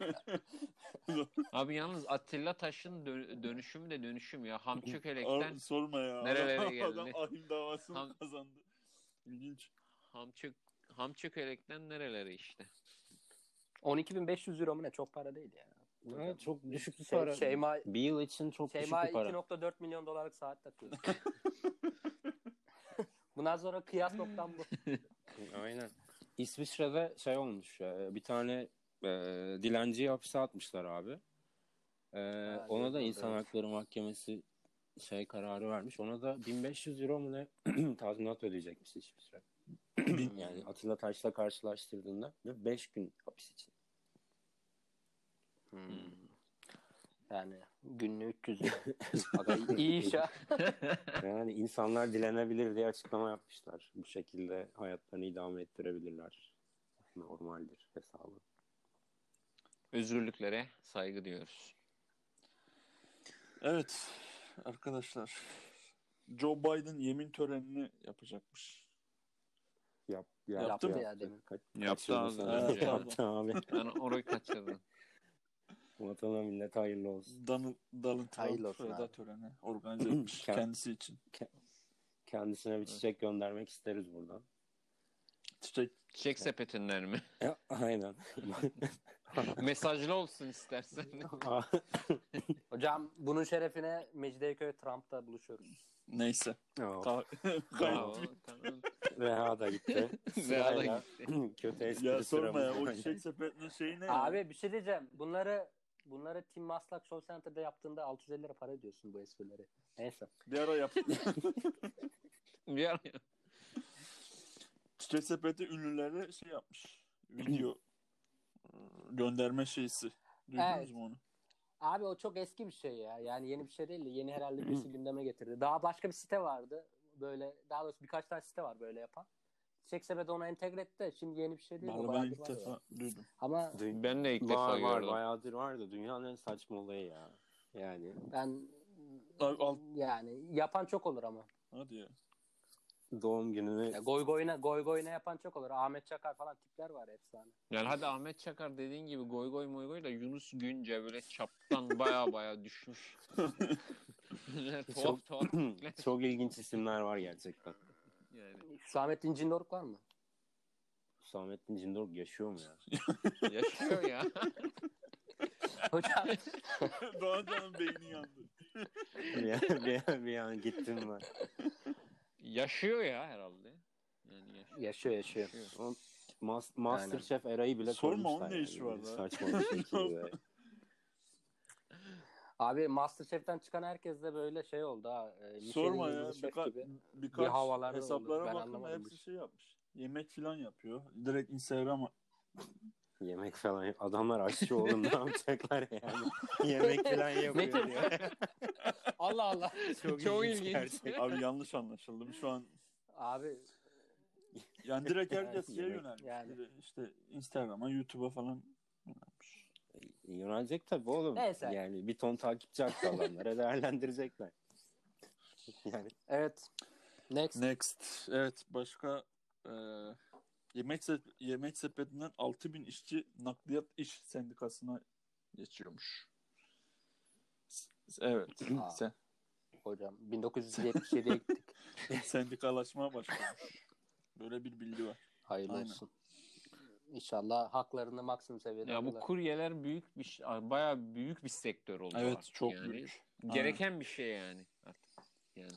Abi yalnız Attila Taş'ın dö- dönüşümü de dönüşüm ya. Hamçı Körek'ten Abi, sorma ya. Nerelere adam, geldi? adam Ahim davasını Tam- kazandı. İlginç. Hamçı Hamçı Körek'ten nerelere işte. 12.500 euro mu ne? Çok para değil ya. Evet, çok düşük bir Şey- para. Şeyma, bir yıl için çok Şeyma düşük bir para. 2.4 milyon dolarlık saat takıyor. Bundan sonra kıyas noktam bu. Aynen. İsviçre'de şey olmuş ya, bir tane e, dilenciyi hapse atmışlar abi. E, ona da evet, insan evet. hakları mahkemesi şey kararı vermiş. Ona da 1500 euro mu ne tazminat ödeyecekmiş İsviçre. yani Atilla Taş'la karşılaştırdığında 5 gün hapis için. Hmm. Yani günlüğü 300 euro. Aga, iyi iş ya. Yani insanlar dilenebilir diye açıklama yapmışlar. Bu şekilde hayatlarını idame ettirebilirler. Normaldir hesabı. Özgürlüklere saygı diyoruz. Evet arkadaşlar. Joe Biden yemin törenini yapacakmış. Yap, Yaptı mı ya demin? Kaç- Yaptı kaçırdın az sen. önce. Yaptı abi. Ben orayı kaçırdım. Vatana millet hayırlı olsun. Donald, Donald Hayırlı Trump olsun veda abi. töreni organize etmiş Kend- kendisi için. Kendisine bir çiçek göndermek isteriz buradan. Çiçek Çiçek sepetinden mi? Ya, aynen. Mesajlı olsun istersen. Hocam bunun şerefine Mecidiyeköy Trump'ta buluşuyoruz. neyse. Oh, Ka- Bravo, kayıt. tamam. Reha da gitti. Reha da gitti. Kötü espri ya sorma ya sıramız. o çiçek sepetinin şeyi ne? ya? Abi bir şey diyeceğim. Bunları bunları Tim Maslak Show Center'da yaptığında 650 lira para ödüyorsun bu esprileri. Neyse. Bir ara yap. Bir ara- çiçek sepeti ünlülere şey yapmış. Video e, gönderme şeysi. Duydunuz Evet. mu onu? Abi o çok eski bir şey ya. Yani yeni bir şey değil de yeni herhalde birisi gündeme getirdi. Daha başka bir site vardı. Böyle daha doğrusu birkaç tane site var böyle yapan. Çiçek sepeti ona entegre etti. de Şimdi yeni bir şey değil. o Vallahi bayağı ben bir var ilk ya. defa duydum. Ama Dün- Ben de ilk defa Var var gördüm. bayağıdır var da dünyanın en saçma olayı ya. Yani ben Abi al- yani yapan çok olur ama. Hadi ya. doğum gününü Ya goy goyuna goy goyuna yapan çok olur. Ahmet Çakar falan tipler var efsane. Yani hadi Ahmet Çakar dediğin gibi goy goy moy goy da Yunus Günce böyle çaptan baya baya düşmüş. tuhaf tuhaf tipler çok ilginç isimler var gerçekten. yani. Hüsamettin Cindoruk var mı? Hüsamettin Cindoruk yaşıyor mu ya? Yaşıyor ya. Hocam Doğan Can'ın beyni yandı. bir, bir, bir an gittim ben. Yaşıyor ya herhalde. Yani yaşıyor yaşıyor. yaşıyor. Şey, O Mas- Masterchef erayı bile Sorma, onun koymuşlar ne yani. işi var lan? Saçma bir şey şekilde. Abi Masterchef'ten çıkan herkes de böyle şey oldu ha. e, Michelin Sorma ya. yıldızı şef birka- gibi. birkaç Bir havalarda oldu, ben hesaplara bakın anlamadım. hepsi şey yapmış. Yemek falan yapıyor. Direkt Instagram'a. Yemek falan yap- Adamlar aşçı oğlum ne yapacaklar yani. Yemek falan yapıyor Metin. diyor. Allah Allah. Çok ilginç. gerçekten. Abi yanlış anlaşıldım. Şu an Abi Yani direkt herkes Yani şeye yemek- yönelmiş. yani. Direkt İşte Instagram'a, YouTube'a falan yönelmiş. Yönelecek tabii oğlum. Neyse. Yani bir ton takipçi hakkı alanlara değerlendirecekler. Yani Evet. Next. Next. Evet başka e, yemek sep- yemek sepetinden 6000 işçi nakliyat iş sendikasına geçiyormuş. S- Evet. Aa. Sen, Hocam 1977'ye gittik. sendikalaşma başlamış. Böyle bir bilgi var. Hayırlı Aynen. olsun. İnşallah haklarını maksimum seviyede Ya bu alırlar. kuryeler büyük bir ş- bayağı büyük bir sektör oldu. Evet artık çok yani. büyük. Gereken bir şey yani artık. Yani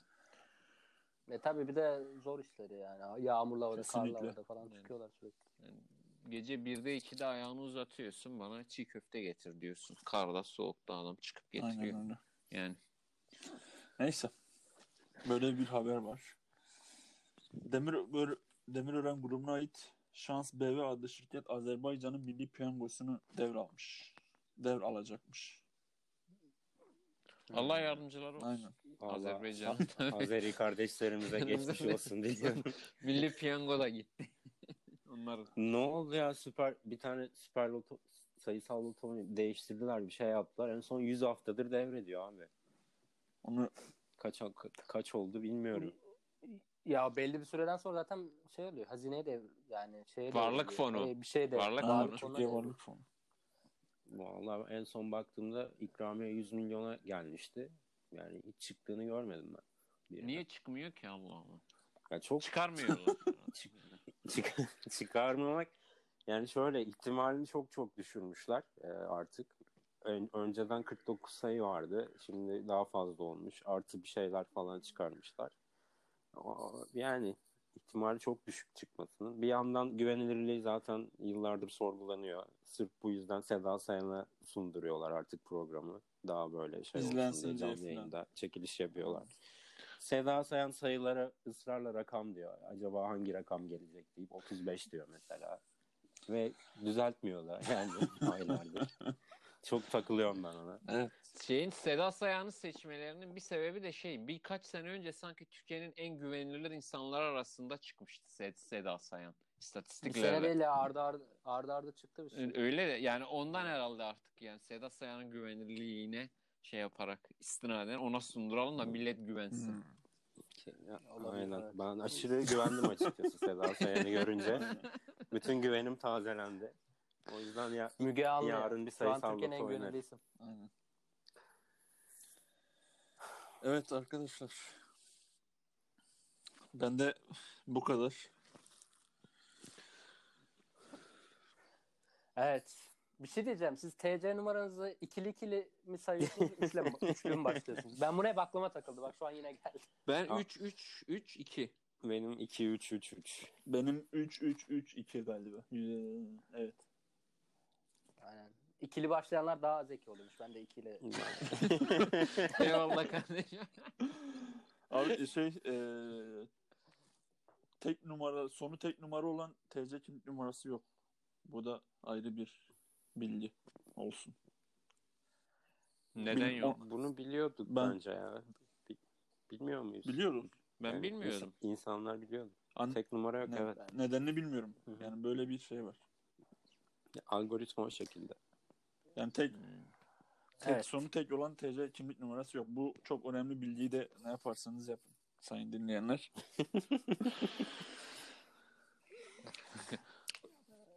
E tabii bir de zor işleri yani. Yağmurla havada, karla Kesinlikle. havada falan Yani. çıkıyorlar sürekli. gece 1'de 2'de ayağını uzatıyorsun bana çiğ köfte getir diyorsun. Karda soğukta adam çıkıp Aynen getiriyor. öyle. Yani Neyse. Böyle bir haber var. Demir Bör- Demirören grubuna ait Şans BV adlı şirket Azerbaycan'ın milli piyangosunu devralmış. Devralacakmış. Allah yardımcıları olsun. Aynen. Allah, Azerbaycan. Azeri kardeşlerimize geçmiş olsun diliyorum. Milli piyango da gitti. Onlar Ne oldu ya süper bir tane süper loto sayısal loto değiştirdiler bir şey yaptılar. En son 100 haftadır devrediyor abi. Onu Kaç kaç oldu bilmiyorum. Ya belli bir süreden sonra zaten şey oluyor. Hazineye de yani şeye Varlık de, fonu. E, bir şey de. Varlık Aynen, fonu. fonuna Türkiye da- Varlık Fonu. Vallahi en son baktığımda ikramiye 100 milyona gelmişti. Yani hiç çıktığını görmedim ben. Bir- niye çıkmıyor ki Allah Allah. Ya çok Çıkarmıyorlar. çık- çıkarmamak yani şöyle ihtimalini çok çok düşürmüşler e, artık. Ön- önceden 49 sayı vardı. Şimdi daha fazla olmuş. Artı bir şeyler falan çıkarmışlar. O- Yani ihtimali çok düşük çıkmasının. Bir yandan güvenilirliği zaten yıllardır sorgulanıyor. Sırf bu yüzden Seda Sayan'a sunduruyorlar artık programı. Daha böyle şey İzlensin olsun diye diye canlı falan. yayında çekiliş yapıyorlar. Seda Sayan sayılara ısrarla rakam diyor. Acaba hangi rakam gelecek deyip 35 diyor mesela. Ve düzeltmiyorlar yani aylardır. Çok takılıyorum ben ona. Evet. Şeyin Seda Sayan'ı seçmelerinin bir sebebi de şey birkaç sene önce sanki Türkiye'nin en güvenilir insanlar arasında çıkmıştı Sed- Seda Sayan Bir sene istatistiklerle. böyle ardı ardı, ardı ardı çıktı bir şey. Öyle de yani ondan herhalde artık yani Seda Sayan'ın güvenilirliğine şey yaparak istinaden ona sunduralım da millet güvensin. Hmm. Olabilir, Aynen. evet. Ben aşırı güvendim açıkçası Seda Sayan'ı görünce. Bütün güvenim tazelendi. O yüzden ya Müge Anlı. Yarın bir Şu an sayısal Türkiye'nin en loto güvenilir oynar. isim. Aynen. Evet arkadaşlar. Ben de bu kadar. Evet. Bir şey diyeceğim. Siz TC numaranızı ikili ikili mi sayıyorsunuz? Üçlü mü, üçlü mü başlıyorsunuz? Ben buraya baklama takıldı. Bak şu an yine geldi. Ben Ha. 3 3 3 2. benim 2 3 3 3. Benim 3-3-3-2 galiba. Ee, Evet. Aynen. İkili başlayanlar daha zeki oluyormuş. Ben de ikili. Eyvallah kardeşim. Abi şey eee, tek numara sonu tek numara olan TC kimlik numarası yok. Bu da ayrı bir bilgi olsun. Neden Bil- yok? Bunu biliyorduk Ben- bence ya. Bi- bilmiyor muyuz? Biliyoruz. Ben Yani bilmiyordum. ins- İnsanlar biliyordu. An- Tek numara yok ne- evet. Nedenini bilmiyorum. Yani böyle bir şey var. Algoritma o şekilde. Yani tek tek Evet. sonu tek olan TC kimlik numarası yok. Bu çok önemli bilgiyi de ne yaparsanız yapın sayın dinleyenler.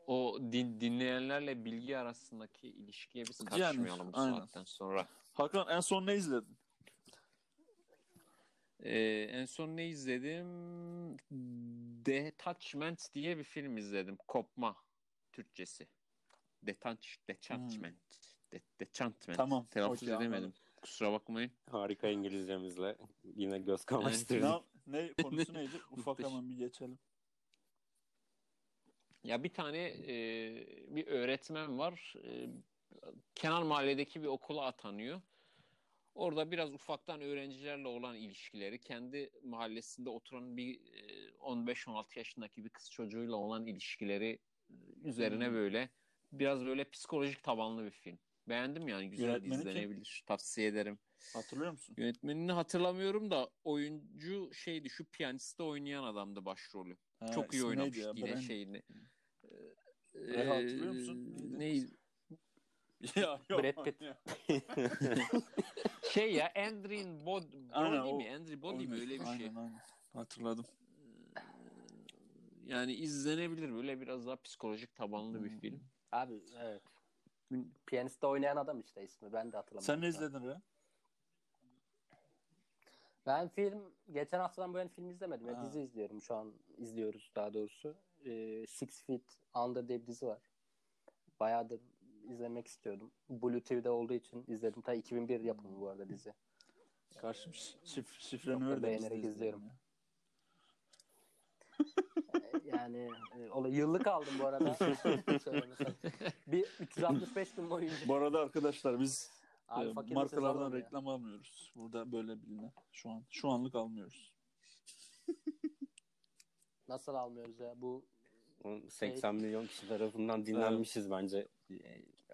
O din, dinleyenlerle bilgi arasındaki ilişkiye biz Yani, karışmayalım bu aynen. saatten sonra. Hakan en son ne izledin? Ee, en son ne izledim? Detachment diye bir film izledim. Kopma Türkçesi. Detach, detachment. De, detachment. Hmm. Tamam, Telaffuz okey, edemedim. anladım. Kusura bakmayın. Harika İngilizcemizle yine göz Ne, kamaştırdık. yap- ne konusu neydi? Ufak hemen bir geçelim. Ya bir tane e, bir öğretmen var. E, kenar mahalledeki bir okula atanıyor. Orada biraz ufaktan öğrencilerle olan ilişkileri, kendi mahallesinde oturan bir e, 15-16 yaşındaki bir kız çocuğuyla Hmm. olan ilişkileri e, üzerine böyle biraz böyle psikolojik tabanlı bir film. Beğendim yani güzel Yönetmeni kim? izlenebilir. Tavsiye ederim. Hatırlıyor musun? Yönetmenini hatırlamıyorum da oyuncu şeydi şu piyaniste oynayan adamdı başrolü. Ha, Çok iyi ismi neydi oynamış ya? yine şey, Ben- şeyini. Ee, hatırlıyor musun? Neydi? Neydi? neydi? ya, yok, Brad Pitt. ya. Şey ya Andrew Bod Aynen, Brody o- mi? Andrew Brody mi? Öyle bir Aynen, şey. aynen. Hatırladım. Yani izlenebilir. Böyle biraz daha psikolojik tabanlı Hmm. bir film. Abi evet. Piyaniste oynayan adam işte ismi. Ben de hatırlamıyorum. Sen ne izledin Re? Ben film geçen haftadan bu yana film izlemedim. Ya, Ha. dizi izliyorum şu an. izliyoruz daha doğrusu. Ee, Six Feet Under diye bir dizi var. Bayağıdır izlemek istiyordum. Blue TV'de olduğu için izledim. Ta 2001 yapımı bu arada dizi. Karşım şif şifreni Çok da öyle de biz de beğenerek izleyelim izliyorum. ya. Ee, yani e, ola- yıllık aldım bu arada. Söylemesem. bir 365 gün boyunca. Bu arada arkadaşlar biz Abi e, fakir markalardan misiniz oğlum ya? reklam almıyoruz. Burada böyle bilinen şu an. Şu anlık almıyoruz. Nasıl almıyoruz ya? Bu Oğlum, 80 milyon kişi tarafından dinlenmişiz bence. Ee,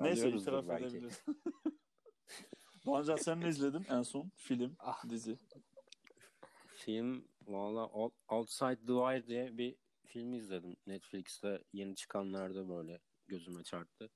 Neyse alıyoruzdur itiraf belki. edebiliriz. Doğancan sen ne izledin en son? Film, Ah. dizi. Film valla Out- Outside the Wire diye bir film izledim. Netflix'te yeni çıkanlarda böyle gözüme çarptı.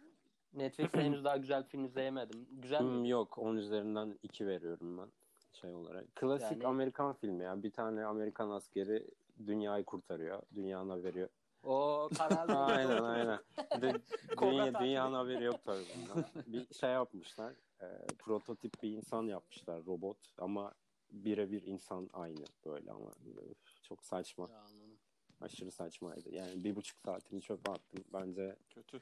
Netflix'te henüz daha güzel film izleyemedim. Güzel mi? Hmm, yok 10 üzerinden 2 veriyorum ben şey olarak. Klasik Yani- Amerikan filmi ya. Bir tane Amerikan askeri dünyayı kurtarıyor. Dünyanın haberi yok. O kanal aynen aynen. De, Kobra dünya, takibi. dünyanın haberi yok tabii bundan. Bir şey yapmışlar. e, prototip bir insan yapmışlar robot ama birebir insan aynı böyle ama öf, çok saçma. Ya, anladım. Aşırı saçmaydı. Yani bir buçuk saatini çöpe attım. Bence Kötü.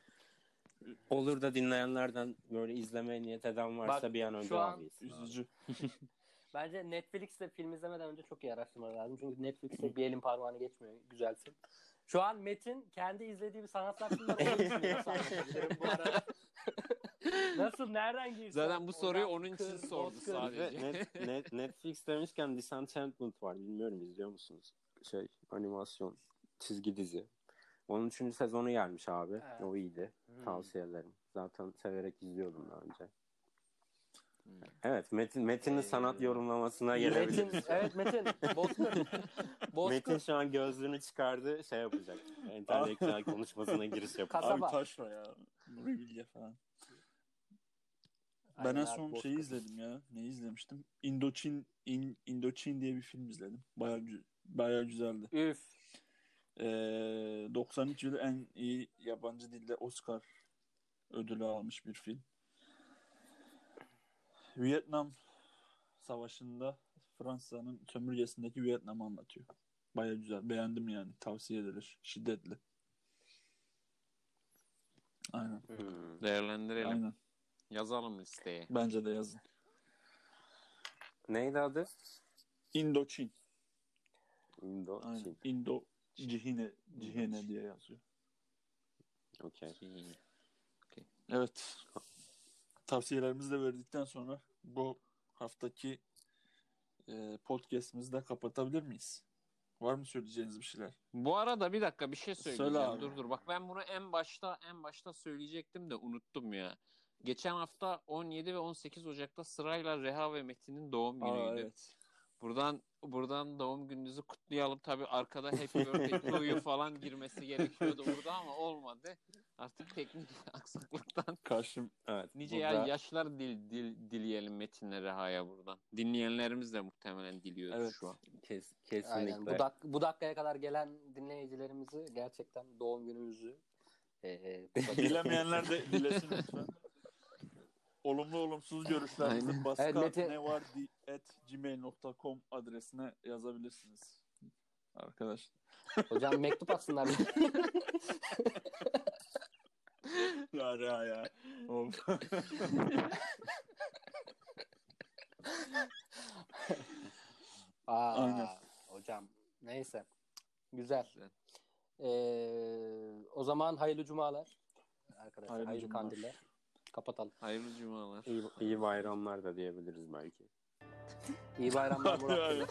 olur da dinleyenlerden böyle izlemeye niyet eden varsa Bak, bir an önce şu an- almayız. Üzücü. Bence Netflix'te film izlemeden önce çok iyi araştırmalar lazım. Çünkü Netflix'te bir elin parmağını geçmiyor. Güzel film. Şu an Metin kendi izlediği bir sanatsal filmler olduğunu düşünüyor sanırım bu arada. Nasıl? Nereden girsin? Zaten bu soruyu Oradan onun için kır, sordu bozkır. sadece. Net, net, Netflix demişken Disenchantment var. Bilmiyorum izliyor musunuz? Şey animasyon çizgi dizi. Onun üçüncü sezonu gelmiş abi. Evet. O iyiydi. Tavsiye ederim. Zaten severek izliyordum daha önce. Evet Metin Metin'in sanat yorumlamasına gelebilir. Ee, Metin, evet Metin. Bozkır. Metin Bozkır. şu an gözlüğünü çıkardı şey yapacak. Entelektüel konuşmasına giriş yapacak. Kasaba. Abi taşra ya. Nuri Bilge falan. Ben Aynen en abi, son boş şeyi kapı. izledim ya. Neyi izlemiştim? Indochine, In- Indochine diye bir film izledim. Bayağı gü- bayağı güzeldi. Üf. Ee, 93 yılı en iyi yabancı dilde Oscar ödülü almış bir film. Vietnam Savaşı'nda Fransa'nın sömürgesindeki Vietnam'ı anlatıyor. Bayağı güzel. Beğendim yani. Tavsiye edilir. Şiddetle. Aynen. Hmm. Değerlendirelim. Aynen. Yazalım listeye. Bence de yazın. Neydi adı? Indoçin. Indo. Aynen. Çin. Indo Cihine, Cihine diye yazıyor. Okey. Evet. Tavsiyelerimizi de verdikten sonra bu haftaki e, podcast'imizi de kapatabilir miyiz? Var mı söyleyeceğiniz bir şeyler? Bu arada bir dakika bir şey söyleyeceğim. Söyle abi. Dur dur bak ben bunu en başta en başta söyleyecektim de unuttum ya. Geçen hafta 17 ve 18 Ocak'ta sırayla Reha ve Metin'in doğum günüydü. evet. Buradan buradan doğum gününüzü kutlayalım. Tabii arkada Happy Birthday to you falan girmesi gerekiyordu burada ama olmadı. Artık teknik aksaklıktan Karşım Evet. nice burada- ya- yaşlar dil, dil dileyelim Metin'le Reha'ya buradan. Dinleyenlerimiz de muhtemelen diliyoruz Evet. şu an. Kes, Aynen. kesinlikle. Bu, dak- bu dakikaya kadar gelen dinleyicilerimizi gerçekten doğum günümüzü e, kutlayalım. dilemeyenler de dilesin lütfen. Olumlu olumsuz görüşlerinizi Aynen. baskı Evet, Mete- ne var gmail.com adresine yazabilirsiniz. Arkadaş. Hocam mektup atsınlar. Ya ya ya. Oğlum. Aa, Aynen. Hocam neyse. Güzel. Güzel. Ee, o zaman hayırlı cumalar. Arkadaşlar hayırlı, Hayırlı cumalar. kandiller. Kapatalım. Hayırlı cumalar. İyi, iyi bayramlar da diyebiliriz belki. İyi bayramlar Murat.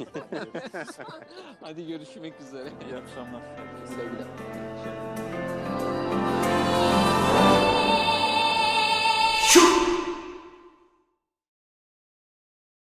Hadi görüşmek üzere. İyi akşamlar. Sevgiler. Şey-